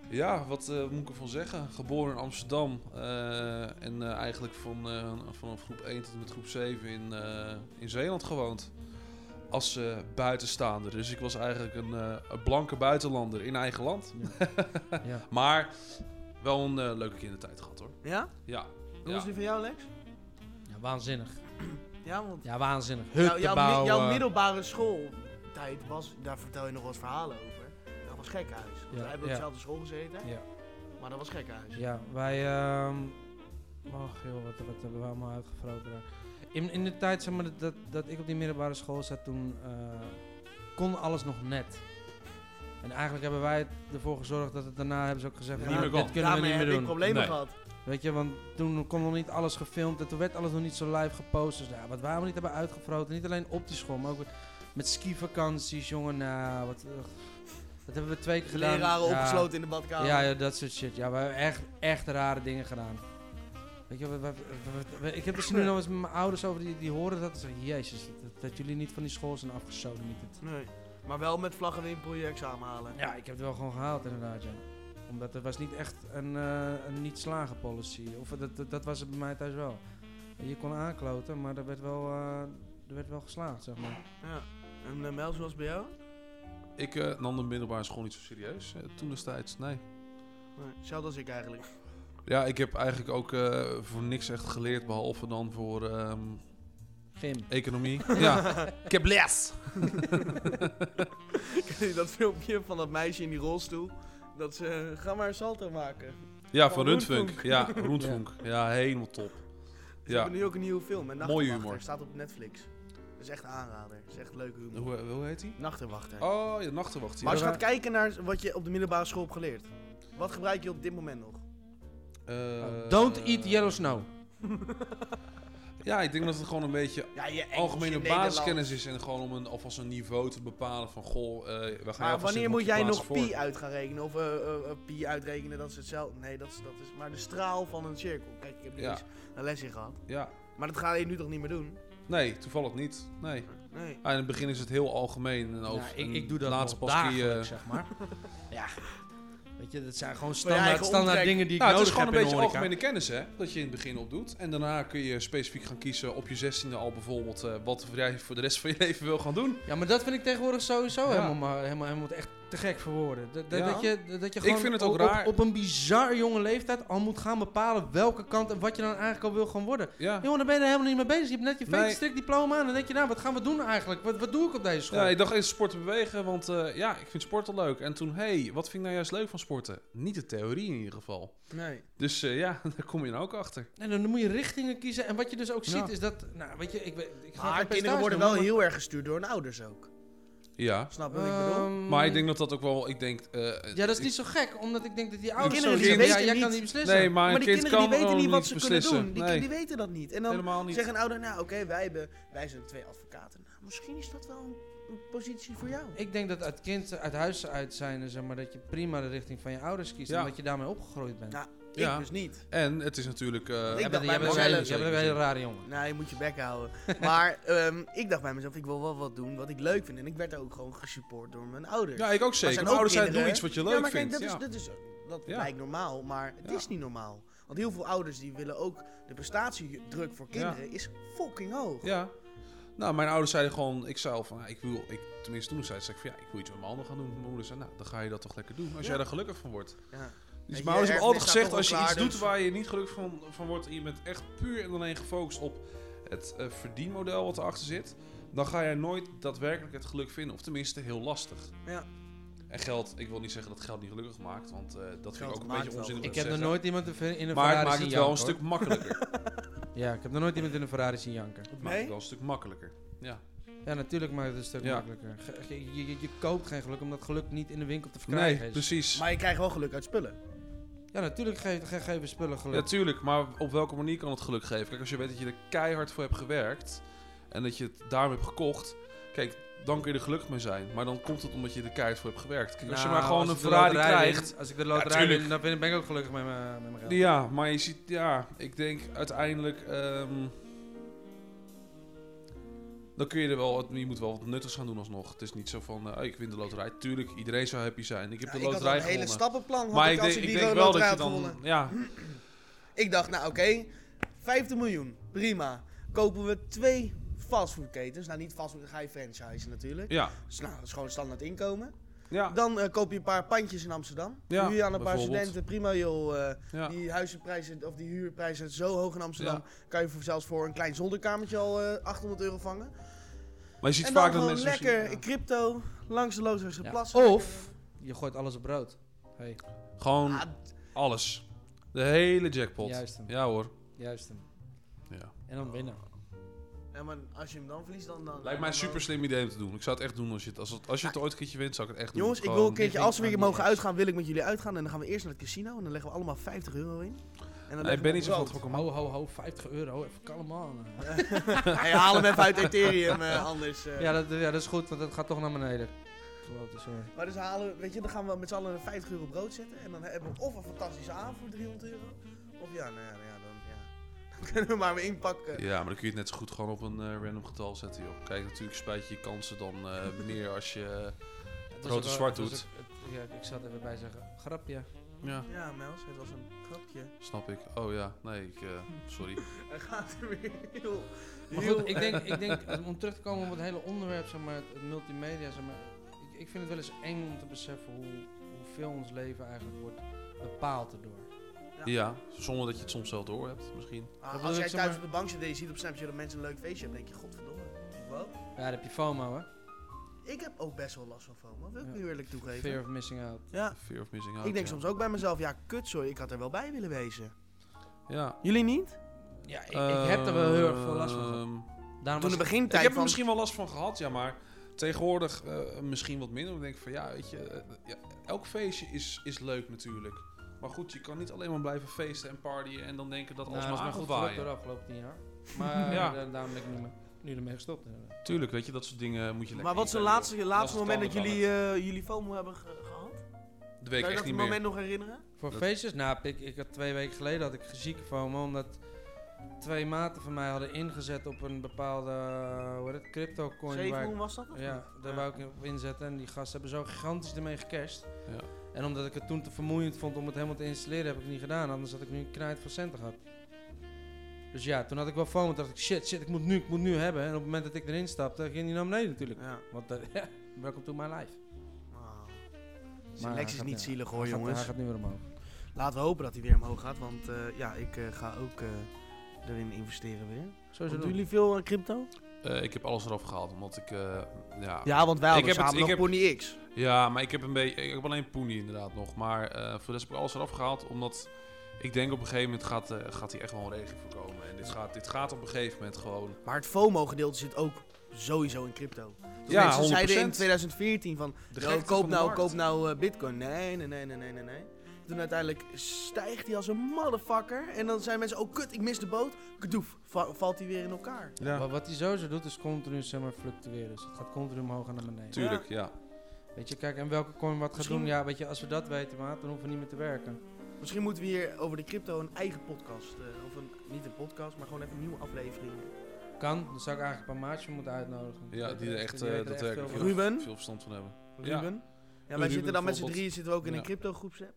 Ja, wat eh, moet ik ervan zeggen? Geboren in Amsterdam. eh, en eh, eigenlijk van, eh, vanaf groep 1 tot en met groep 7 in, eh, in Zeeland gewoond. Als eh, buitenstaander. Dus ik was eigenlijk een, eh, een blanke buitenlander in eigen land. Ja. Maar wel een eh, leuke kindertijd gehad hoor. Ja? Ja. Hoe ja. was die van jou, Lex? ja, waanzinnig. Ja, want Ja, waanzinnig. jou- Hutten jouw, mi- bouwen. jouw middelbare schooltijd was, daar vertel je nog wel eens verhalen over. Dat was gekhuis. Want Ja, wij hebben op ja. dezelfde school gezeten, Ja. maar dat was gekhuis. Ja, wij... ehm Och joh, wat, wat hebben we allemaal uitgevroten daar. In, in de tijd zeg maar, dat- dat, dat ik op die middelbare school zat, toen eh, kon alles nog net. En eigenlijk hebben wij ervoor gezorgd dat het daarna, hebben ze ook gezegd, Ja, van, niet nou, meer kan. dit kunnen Daarmee we niet heb meer ik doen. problemen Nee. gehad. Weet je, want toen kon nog niet alles gefilmd en toen werd alles nog niet zo live gepost. Dus ja, wat wij allemaal niet hebben uitgevroten, niet alleen op die school, maar ook met- met skivakanties, jongen. Nou, wat, ugh. dat hebben we twee keer De gedaan. leraren Ja. opgesloten in de badkamer. Ja, ja, dat soort shit. Ja, we hebben echt, echt rare dingen gedaan. Weet je, we- we- we- we- ik heb het er nu nog eens met mijn ouders over, die, die horen dat. en Zeggen, jezus, dat, dat jullie niet van die school zijn afgesodemieterd. Nee. Maar wel met vlaggenwimpel je examen halen. Ja, ik heb het wel gewoon gehaald inderdaad, ja. Omdat er was niet echt een, eh, een niet slagen policy. Of dat, dat, dat was het bij mij thuis wel. Je kon aankloten, maar er werd wel, eh, er werd wel geslaagd, zeg maar. Ja. En uh, Mel, zoals bij jou? Ik eh, nam de middelbare school niet zo serieus. eh, toen destijds, nee. Nee. Hetzelfde als ik eigenlijk. Ja, ik heb eigenlijk ook eh, voor niks echt geleerd, behalve dan voor ehm, Gym. economie. ja, ik heb les. Ken je dat filmpje van dat meisje in die rolstoel? Dat ze, eh, ga maar een salto maken. Ja, Van van Rundfunk. Rundfunk. Ja, Rundfunk. Ja, helemaal top. Ze Ja. hebben nu ook een nieuwe film. En Mooie Nachtwachter humor. staat op Netflix. Dat is echt aanrader. Dat is echt leuke humor. Hoe, hoe heet hij? Nachtenwachter. Oh, ja, Nachtenwacht. Ja. maar als je Ja, gaat kijken naar wat je op de middelbare school hebt geleerd. Wat gebruik je op dit moment nog? Eh, Don't eat yellow snow. Ja, ik denk dat het gewoon een beetje Ja, je Engels, algemene je Nederlands. basiskennis is. En gewoon om een, alvast een niveau te bepalen van, goh, eh we gaan Maar alvast wanneer zitten moet op je jij plaats nog voor. pi uit gaan rekenen? Of eh, eh, eh, pi uitrekenen, dat is hetzelfde. Nee, dat is, dat is maar de straal van een cirkel. Kijk, ik heb niet Ja. eens een les in gehad. Ja. Maar dat ga je nu toch niet meer doen? Nee, toevallig niet. Nee. Nee. Ah, in het begin is het heel algemeen. En over, Ja, ik, en ik doe dat laatst nog Nou, pas kun je- dagelijks, zeg maar. ja. Weet je, dat zijn gewoon je standaard, eigen standaard omtrek. dingen die ik Nou, het is nodig gewoon heb een in de beetje horeca. algemene kennis, hè? Dat je in het begin opdoet. En daarna kun je specifiek gaan kiezen op je 16e al bijvoorbeeld eh, wat jij voor de rest van je leven wil gaan doen. Ja, maar dat vind ik tegenwoordig sowieso Ja. helemaal, maar- helemaal, helemaal echt te gek voor woorden. Dat, dat, Ja. dat je, dat je Ik gewoon vind het ook op, op- raar. op een bizar jonge leeftijd al moet gaan bepalen welke kant en wat je dan eigenlijk al wil gaan worden. Ja. Jongen, daar ben je er helemaal niet mee bezig. Je hebt net je Nee. fake strikt diploma aan. Dan denk je, nou, wat gaan we doen eigenlijk? Wat, wat doe ik op deze school? Ja, ik dacht eerst sporten bewegen, want eh, ja, ik vind sporten leuk. En toen, hé, hey, wat vind ik nou juist leuk van sporten? Niet de theorie in ieder geval. Nee. Dus eh, ja, daar kom je nou ook achter. En dan moet je richtingen kiezen. En wat je dus ook ziet Ja. is dat, nou, weet je, ik, weet- ik ga Maar geen kinderen percentage worden noemen, wel heel erg gestuurd door hun ouders ook. Ja. Snap je maar- wat ik bedoel? Ehm, Maar ik denk dat dat ook wel, ik denk... eh, Ja, dat is ik- niet zo gek, omdat ik denk dat die ouders kinderen zo die zijn, ja, weten jij kan niet- niet beslissen. Nee, maar een maar die kind kinderen kan die weten gewoon niet wat niets ze beslissen. kunnen doen. Die, Nee, die weten dat niet. En dan helemaal niet. zeggen een ouder, nou oké, wij, hebben, wij zijn twee advocaten. Nou, misschien is dat wel een, een positie voor jou. Ik denk dat het kind uit huis uit zijn, zeg maar, dat je prima de richting van je ouders kiest. Ja. Omdat je daarmee opgegroeid bent. Nou, Ja. Ik dus niet. En het is natuurlijk... eh, Ik jij bent, dacht jij bij bent, een hele- mezelf- jij bent een hele rare jongen. Nou, je moet je bek houden. Maar ehm, ik dacht bij mezelf, ik wil wel wat doen wat ik leuk vind. En ik werd daar ook gewoon gesupport door mijn ouders. ja, ik ook zeker. zijn Mijn ook ouders zijn, doe kinderen, iets wat je ja, leuk maar kijk, vindt. dat, ja. is, dat, is, dat Ja. lijkt normaal, maar het Ja. is niet normaal. Want heel veel ouders die willen ook... De prestatiedruk voor kinderen is fucking hoog. Ja. Nou, mijn ouders zeiden gewoon, ik zou van, nou, ik wil, ik, tenminste toen zei ik, zei ik van, ja, ik wil iets met mijn handen gaan doen. Mijn moeder zei, nou, dan ga je dat toch lekker doen, als Ja. jij daar gelukkig van wordt. Ja. Dus je mijn ouders hebben erfenis altijd gezegd, staat toch als je al iets klaar, doet dus- waar je niet gelukkig van, van wordt en je bent echt puur en alleen gefocust op het eh, verdienmodel wat erachter zit, dan ga jij nooit daadwerkelijk het geluk vinden, of tenminste heel lastig. Ja. En geld, ik wil niet zeggen dat geld niet gelukkig maakt, want eh, dat vind Geld ik ook een maakt beetje wel onzin om geluk. Ik te heb nog zeggen. nooit iemand in ver- in een maar het Ferrari maakt zien het wel een janken, stuk makkelijker. hoor. Ja, ik heb nog nooit iemand in een Ferrari zien janken. Het maakt Nee? het wel een stuk makkelijker. Ja, natuurlijk maakt het een stuk Ja. makkelijker. Ge- ge- Je, je, je koopt geen geluk omdat geluk niet in de winkel te verkrijgen Nee, is. precies. Maar je krijgt wel geluk uit spullen. Ja, natuurlijk geven ge geven spullen geluk. Natuurlijk, maar op welke manier kan het geluk geven? Kijk, als je weet dat je er keihard voor hebt gewerkt en dat je het daarom hebt gekocht, kijk, dan kun je er gelukkig mee zijn. Maar dan komt het omdat je er keihard voor hebt gewerkt. Kijk, als je Nou, maar gewoon als een ik de Ferrari loterij win- krijgt. als ik de Ja, loterij tuurlijk. win, dan ben ik- ben ik ook gelukkig met mijn met mijn geld. Ja, maar je ziet, ja, ik denk uiteindelijk. ehm, dan kun je er wel, wat- je moet wel wat nuttigs gaan doen alsnog. Het is niet zo van, eh, oh, ik win de loterij. Tuurlijk, iedereen zou happy zijn. Ik heb Nou, de ik had al loterij een hele gewonnen. stappenplan had Maar ik ik als denk, ik ik die denk wel dat loterij je had dan, gewonnen. ja, Ik dacht, nou oké, 50 miljoen, prima. Kopen we twee fastfoodketens. Nou, niet fastfood, dan ga je franchise natuurlijk. ja, Dus nou, dat is gewoon standaard inkomen. ja, Dan eh, koop je een paar pandjes in Amsterdam. Ja, Huur je aan een paar bijvoorbeeld. studenten, prima joh. eh, ja. Die huizenprijzen, of die huurprijzen zijn zo hoog in Amsterdam. Kan je voor, zelfs voor een klein zolderkamertje al eh, 800 euro vangen. Maar je ziet en dan vaak dat gewoon mensen. lekker in crypto, langs de Loosdrechtse Ja. plassen. Of je gooit alles op brood. Hey, Gewoon Ah, alles. De hele jackpot. Juist hem. Ja hoor. juist hem. Ja. En dan winnen. ja, maar als je hem dan verliest, dan... dan Lijkt mij een dan- super slim idee om te doen. Ik zou het echt doen als je het, als het, als je Ah. het ooit een keertje wint, zou ik het echt Jongens, doen. ik wil een Gewoon- keertje, denk als we ik weer maar mogen niet eens. uitgaan, wil ik met jullie uitgaan. En dan gaan we eerst naar het casino en dan leggen we allemaal 50 euro in. En dan Nee, leggen ik we ben niet zo op van brood. trokken, man. Ho, ho, ho, 50 euro. Even kalm aan. Hey, haal hem even uit Ethereum, eh, anders... eh. Ja dat, ja, dat is goed, want dat gaat toch naar beneden. Klote, sorry. Maar dus halen, we- weet je, dan gaan we met z'n allen 50 euro brood zetten. En dan hebben we of een fantastische avond voor 300 euro. Of ja, nou ja, nou ja dan ja. kunnen we maar weer inpakken. Ja, maar dan kun je het net zo goed gewoon op een eh, random getal zetten, joh. Kijk, natuurlijk spijt je je kansen dan eh, meneer als je... eh, dus Het Grote zwart doet. doet. Ja, ik zat even bij zeggen, grapje. Ja, Ja, Mels, het was een grapje. snap ik. Oh ja, nee, ik... eh, sorry. Hij gaat er weer heel... Maar heel- goed, ik denk, ik denk eh, om terug te komen op het hele onderwerp, zeg maar, het, het multimedia, zeg maar, ik, ik vind het wel eens eng om te beseffen hoe, hoeveel ons leven eigenlijk wordt bepaald erdoor. Ja, zonder dat je het soms zelf door hebt, misschien. Ah, bedoel als ik, jij zeg thuis maar- op de bank zit en je ziet op Snapchat dat mensen een leuk feestje hebben, denk je, godverdomme. Wat? Ja, daar heb je FOMO, hè? Ik heb ook best wel last van FOMO, wil ik Ja. nu eerlijk toegeven. Fear of missing out. Ja, Fear of missing out. ik denk ja. soms ook bij mezelf, ja, kut sorry, ik had er wel bij willen wezen. Ja. Jullie niet? Ja, ik, ik heb er wel heel erg veel last van. gehad. Ehm, Daarom Toen de was ik- begintijd Ik heb er van... misschien wel last van gehad, ja, maar tegenwoordig eh, misschien wat minder. Ik denk ik van ja, weet je, eh, ja, elk feestje is, is leuk natuurlijk. Maar goed, je kan niet alleen maar blijven feesten en partyen en dan denken dat nou, alles dat is maar mijn goed goed geluk door de waaien. afgelopen tien jaar. Maar Ja. ja. daarom ben ik niet meer, nu ermee gestopt. inderdaad. Tuurlijk, weet je, dat soort dingen moet je lekker Maar wat is het inplannen, laatste, joh. laatste Als het moment kan, dat dan jullie, kan eh, jullie FOMO hebben ge- gehad? het. Dat weet ik Kan je echt dat niet meer. moment nog herinneren? Voor Dat- feestjes, nou, ik, ik had twee weken geleden had ik ziek FOMO, omdat twee maten van mij hadden ingezet op een bepaalde, eh, hoe heet het, crypto coin. Zeven waar ik- hoe was dat? of Ja, niet? daar Ja. wou ik op inzetten. En die gasten hebben zo gigantisch ermee gecashed. Ja. En omdat ik het toen te vermoeiend vond om het helemaal te installeren, heb ik het niet gedaan. Anders had ik nu een knijt van centen gehad. Dus ja, toen had ik wel FOMO. Toen dacht ik, shit, shit, ik moet nu, ik moet nu hebben. En op het moment dat ik erin stapte, ging die naar beneden natuurlijk. Ja. Want dat, ja, welcome to my life. Wow. Maar Zijn hij Lex is gaat- niet ja, zielig Hij hoor, gaat- Hij jongens. gaat nu weer omhoog. Laten we hopen dat hij weer omhoog gaat, want eh, ja, ik eh, ga ook eh, erin investeren weer. Zo is Doen het jullie veel aan crypto? Eh, ik heb alles eraf gehaald, omdat ik, eh, ja. ja. Ja, want wij hadden Ik heb het- samen nog ik Pony X. maar ik heb een beetje, ik heb alleen Poenie inderdaad nog. Maar eh, voor de rest heb ik alles eraf gehaald, omdat ik denk op een gegeven moment gaat, eh, gaat hier echt wel een regen voorkomen. En dit gaat, dit gaat op een gegeven moment gewoon Maar het FOMO-gedeelte zit ook sowieso in crypto. Dus Ja, mensen zeiden in 100%. 2014 van, De "Yo, gekte koop van de nou, markt. koop nou eh, bitcoin. Nee, nee, nee, nee, nee, nee, nee. Toen uiteindelijk stijgt hij als een motherfucker. En dan zijn mensen, oh kut, ik mis de boot. Kadoef, va- valt hij weer in elkaar. Ja. Maar wat hij sowieso doet, is continu zeg maar, fluctueren. Dus het gaat continu omhoog en naar beneden. Tuurlijk, ja. Weet je, kijk, en welke coin wat gaat Misschien- doen. Ja, weet je, als we dat weten, maat, dan hoeven we niet meer te werken. Misschien moeten we hier over de crypto een eigen podcast. eh, of een, niet een podcast, maar gewoon even een nieuwe aflevering. Kan, dan zou ik eigenlijk een paar maatjes moeten uitnodigen. Ja, die er echt, eh, weten dat veel werken. van. Ruud. Ruben? Veel verstand van hebben. Ja. Ruben. Ja, wij Ruben zitten dan met z'n bijvoorbeeld. drieën zitten we ook in Ja. een crypto groepsapp.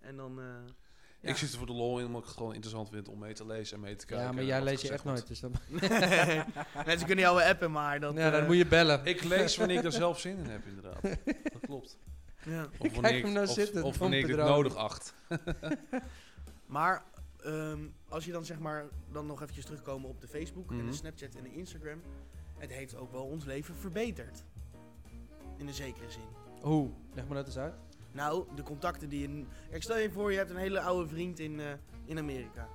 En dan... eh, Ja. Ik zit er voor de lol in, omdat ik het gewoon interessant vind om mee te lezen en mee te kijken. Ja, maar en jij wat leest je echt eh, gezegd nooit. Dus dan, Mensen kunnen jou appen, maar dat... ja, dan eh, moet je bellen. wordt. Ik lees wanneer ik daar zelf zin in heb, inderdaad. Dat klopt. ja. Of Kijk wanneer ik, hem nou of, zitten, of wanneer ik dit dompedraad. nodig acht. Maar ehm, als je dan zeg maar dan nog eventjes terugkomen op de Facebook en Mhm. de Snapchat en de Instagram, het heeft ook wel ons leven verbeterd. In een zekere zin. Hoe? Leg me dat eens uit. Nou, de contacten die je. Kijk, stel je voor, je hebt een hele oude vriend in, eh, in Amerika.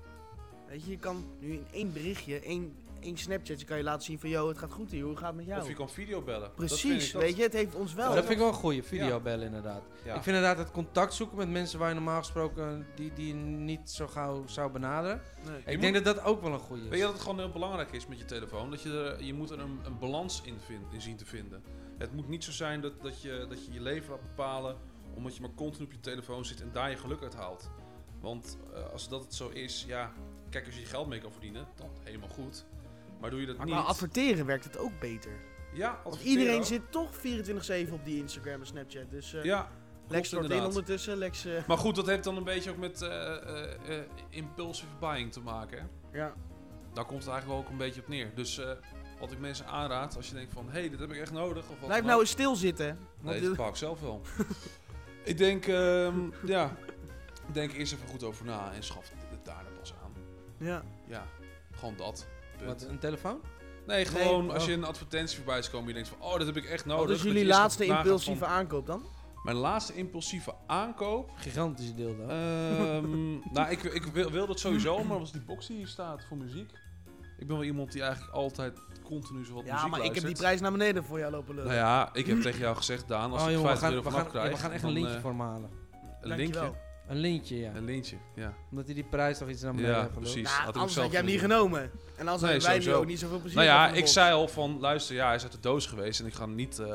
Weet je, je kan nu in één berichtje, één, één Snapchatje kan je laten zien van yo, het gaat goed hier, hoe gaat het met jou? Of je kan video bellen. Precies, weet je, het heeft ons wel. dat vind ik wel een goeie, videobellen inderdaad. Ja. Ik vind inderdaad het contact zoeken met mensen waar je normaal gesproken die, die je niet zo gauw zou benaderen. Nee. ik moet- denk dat dat ook wel een goeie is. Weet je dat het gewoon heel belangrijk is met je telefoon? Dat je, er, je moet er een, een balans in, vind, in zien te vinden. Het moet niet zo zijn dat, dat, je, dat je je leven laat bepalen omdat je maar continu op je telefoon zit en daar je geluk uit haalt. Want eh, als dat het zo is, ja, kijk, als je je geld mee kan verdienen, dan helemaal goed. Maar doe je dat Maar niet... qua adverteren werkt het ook beter. ja, Want adverteren iedereen ook. zit toch 24-7 op die Instagram en Snapchat. Dus eh, Ja, Lex klopt stort in inderdaad. ondertussen. Lex, eh, Maar goed, dat heeft dan een beetje ook met eh, eh, eh, impulsive buying te maken. hè? ja. Daar komt het eigenlijk wel ook een beetje op neer. Dus eh, wat ik mensen aanraad, als je denkt van, hé, hey, dit heb ik echt nodig. Of wat Blijf dan nou ook. eens stilzitten. Want Nee, dit- dat bepaal ik zelf wel. ik denk, ehm, ja, denk eerst even goed over na en schaf het daarna pas aan. ja. Ja, gewoon dat. Wat, Punt. een telefoon? Nee, gewoon Nee, als oh. je een advertentie voorbij is komen, je denkt van, oh, dat heb ik echt nodig. Wat is dat je jullie eerst laatste nagaat impulsieve van- aankoop dan? Mijn laatste impulsieve aankoop. Gigantische deel Eh, dan. Ehm, nou, ik, ik wil, wil dat sowieso, maar was die box die hier staat voor muziek. Ik ben wel iemand die eigenlijk altijd continu zo wat Ja, muziek maar ik heb die luistert. prijs naar beneden voor jou lopen lullen. Nou ja, ik heb tegen jou gezegd, Daan, als oh ik jongen, we 50 gaan, euro we, vanaf gaan, krijg... ja, we gaan echt dan, een lintje eh, voor me halen. Een linkje? Dankjewel. Een lintje, ja. Een lintje, ja. Omdat hij die prijs toch iets naar beneden Ja, heeft gelopen. precies. Nou, Had ik anders zelf had jij hem niet willen genomen. En anders Nee, hadden wij nu sowieso. ook niet zoveel plezier Nou ja, gehad van de ik box. zei al van, luister, ja, hij is uit de doos geweest en ik ga er niet eh,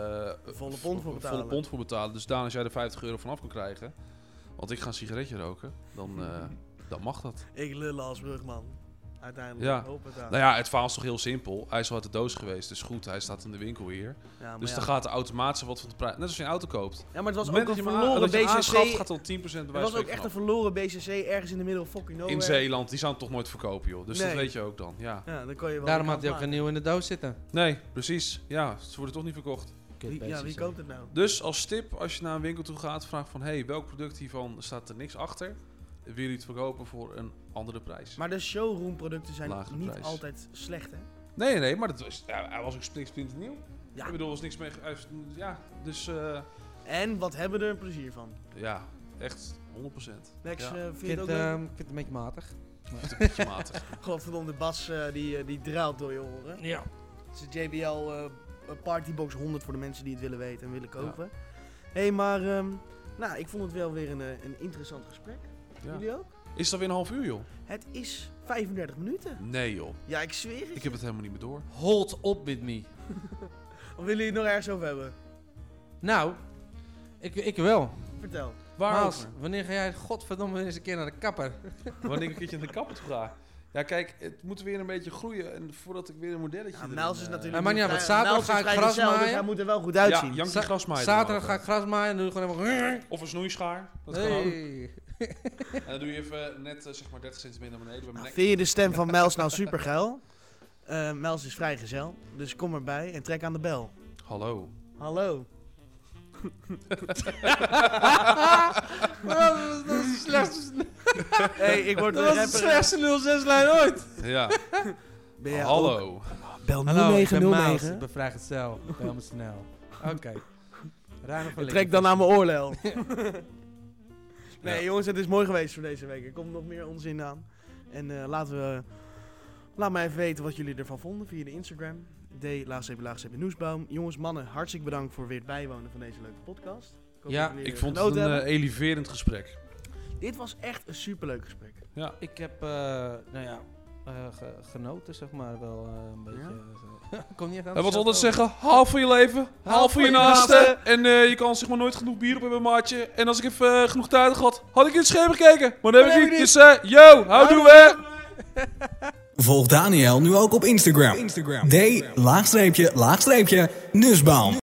Volle pond voor v- betalen. volle pond voor betalen. Dus Daan, als jij er 50 euro vanaf kan krijgen, want ik ga een sigaretje roken, dan, eh, dan mag dat. Ik lullen als brugman. uiteindelijk. Ja. Hoppata. Nou ja, het verhaal is toch heel simpel. Hij is al uit de doos geweest, dus goed, hij staat in de winkel hier. Ja, maar dus ja. dan gaat er automatisch wat van de prijs. Net als je een auto koopt. Ja, maar het was Op het ook een moment dat je hem verloren aan- dat je hem aanschaft, BCC. gaat dan 10% Het bij was ook echt een verloren BCC ergens in de middel of fucking nowhere. In Zeeland, die zou hem toch nooit verkopen, joh. Dus dat Nee. weet je ook dan, ja. Ja, dan kon je wel. Daarom die had hij ook kant een nieuw in de doos zitten. Nee, precies. Ja, ze worden toch niet verkocht. Kut, maken. Wie- Ja, PCC. wie koopt het nou? Dus als tip, als je naar een winkel toe gaat, vraag van... hey, welk product hiervan staat er niks achter? Wil je het verkopen voor een andere prijs? Maar de showroomproducten zijn Lagere niet prijs. altijd slecht, hè? Nee, nee, maar dat was, ja, hij was ook splint- splinternieuw. Ja. Ik bedoel, er was niks mee... ge- hij is- Ja, dus eh, En wat hebben we er plezier van? ja, echt 100%. Lex, Ja. eh, vind Ik je het ook vind, leuk? ehm, ik vind het een beetje matig. Beetje matig. Godverdomme, de bas eh, die, eh, die draalt door je oren. Ja. Het is de JBL eh, Partybox 100 voor de mensen die het willen weten en willen kopen. Hé, hey, maar ehm, nou, ik vond het wel weer een, eh, een interessant gesprek. Ja. Jullie ook? Is dat weer een half uur, joh? Het is 35 minuten. Nee, joh. Ja, ik zweer het. Ik heb het helemaal niet meer door. Hold up with me. Of willen jullie het nog ergens over hebben? Nou, ik, ik wel. Vertel. Maas, Waarover? wanneer ga jij godverdomme eens een keer naar de kapper? Wanneer ik een keertje in de kapper toe ga. Ja, kijk, het moet weer een beetje groeien. En voordat ik weer een modelletje... Ja, erin, Nels is eh, natuurlijk... Maar maakt niet uit, vrij- want Nels zaterdag is ga ik vrijgezel, gras Dus maaien. hij moet er wel goed uitzien. Ja, Jankie Za- Grasmaaier. Zaterdag ga erover. ik gras maaien en doe ik gewoon helemaal... Of een snoeischaar. Dat kan ook. Hey. En dan doe je even eh, net eh, zeg maar 30 centimeter naar beneden bij mijn Nou, nek. vind je de stem van Mels nou super geil? Mels is vrijgezel, dus kom erbij en trek aan de bel. Hallo. Hallo. dat was- dat was de slechtste, hey, ik word dat weer was de rapper. slechtste 06-lijn ooit. Ja, Ben jij ook- hallo. Bel Hallo, ik ben Maas, 0909. ik ben vrijgezel. Bel me snel. Oké. Ruim van Trek dan aan mijn oorlel. nee, jongens, het is mooi geweest voor deze week. Er komt nog meer onzin aan. En eh, laten we. Laat mij even weten wat jullie ervan vonden via de Instagram. D, laagstreepje, laagstreepje, Nieuwsboom. Jongens, mannen, hartstikke bedankt voor weer het bijwonen van deze leuke podcast. Ik hoop Ja, dat jullie Ik er vond het genoten een hebben. eh, eleverend gesprek. Dit was echt een superleuk gesprek. Ja. Ik heb, eh, nou ja, eh, ge- genoten zeg maar wel eh, een beetje. Kom niet echt aan eh, En wat het wil dat zelf zeggen? Haal van je leven. Haal van je naasten. En eh, je kan zeg maar nooit genoeg bier op hebben, maatje. En als ik even eh, genoeg tijd had gehad, had ik in het scherm gekeken. Maar dat heb ik niet. Dus eh, yo, houdoe hè. Volg Daniel nu ook op Instagram. D, laagstreepje, laagstreepje, Nusbaum.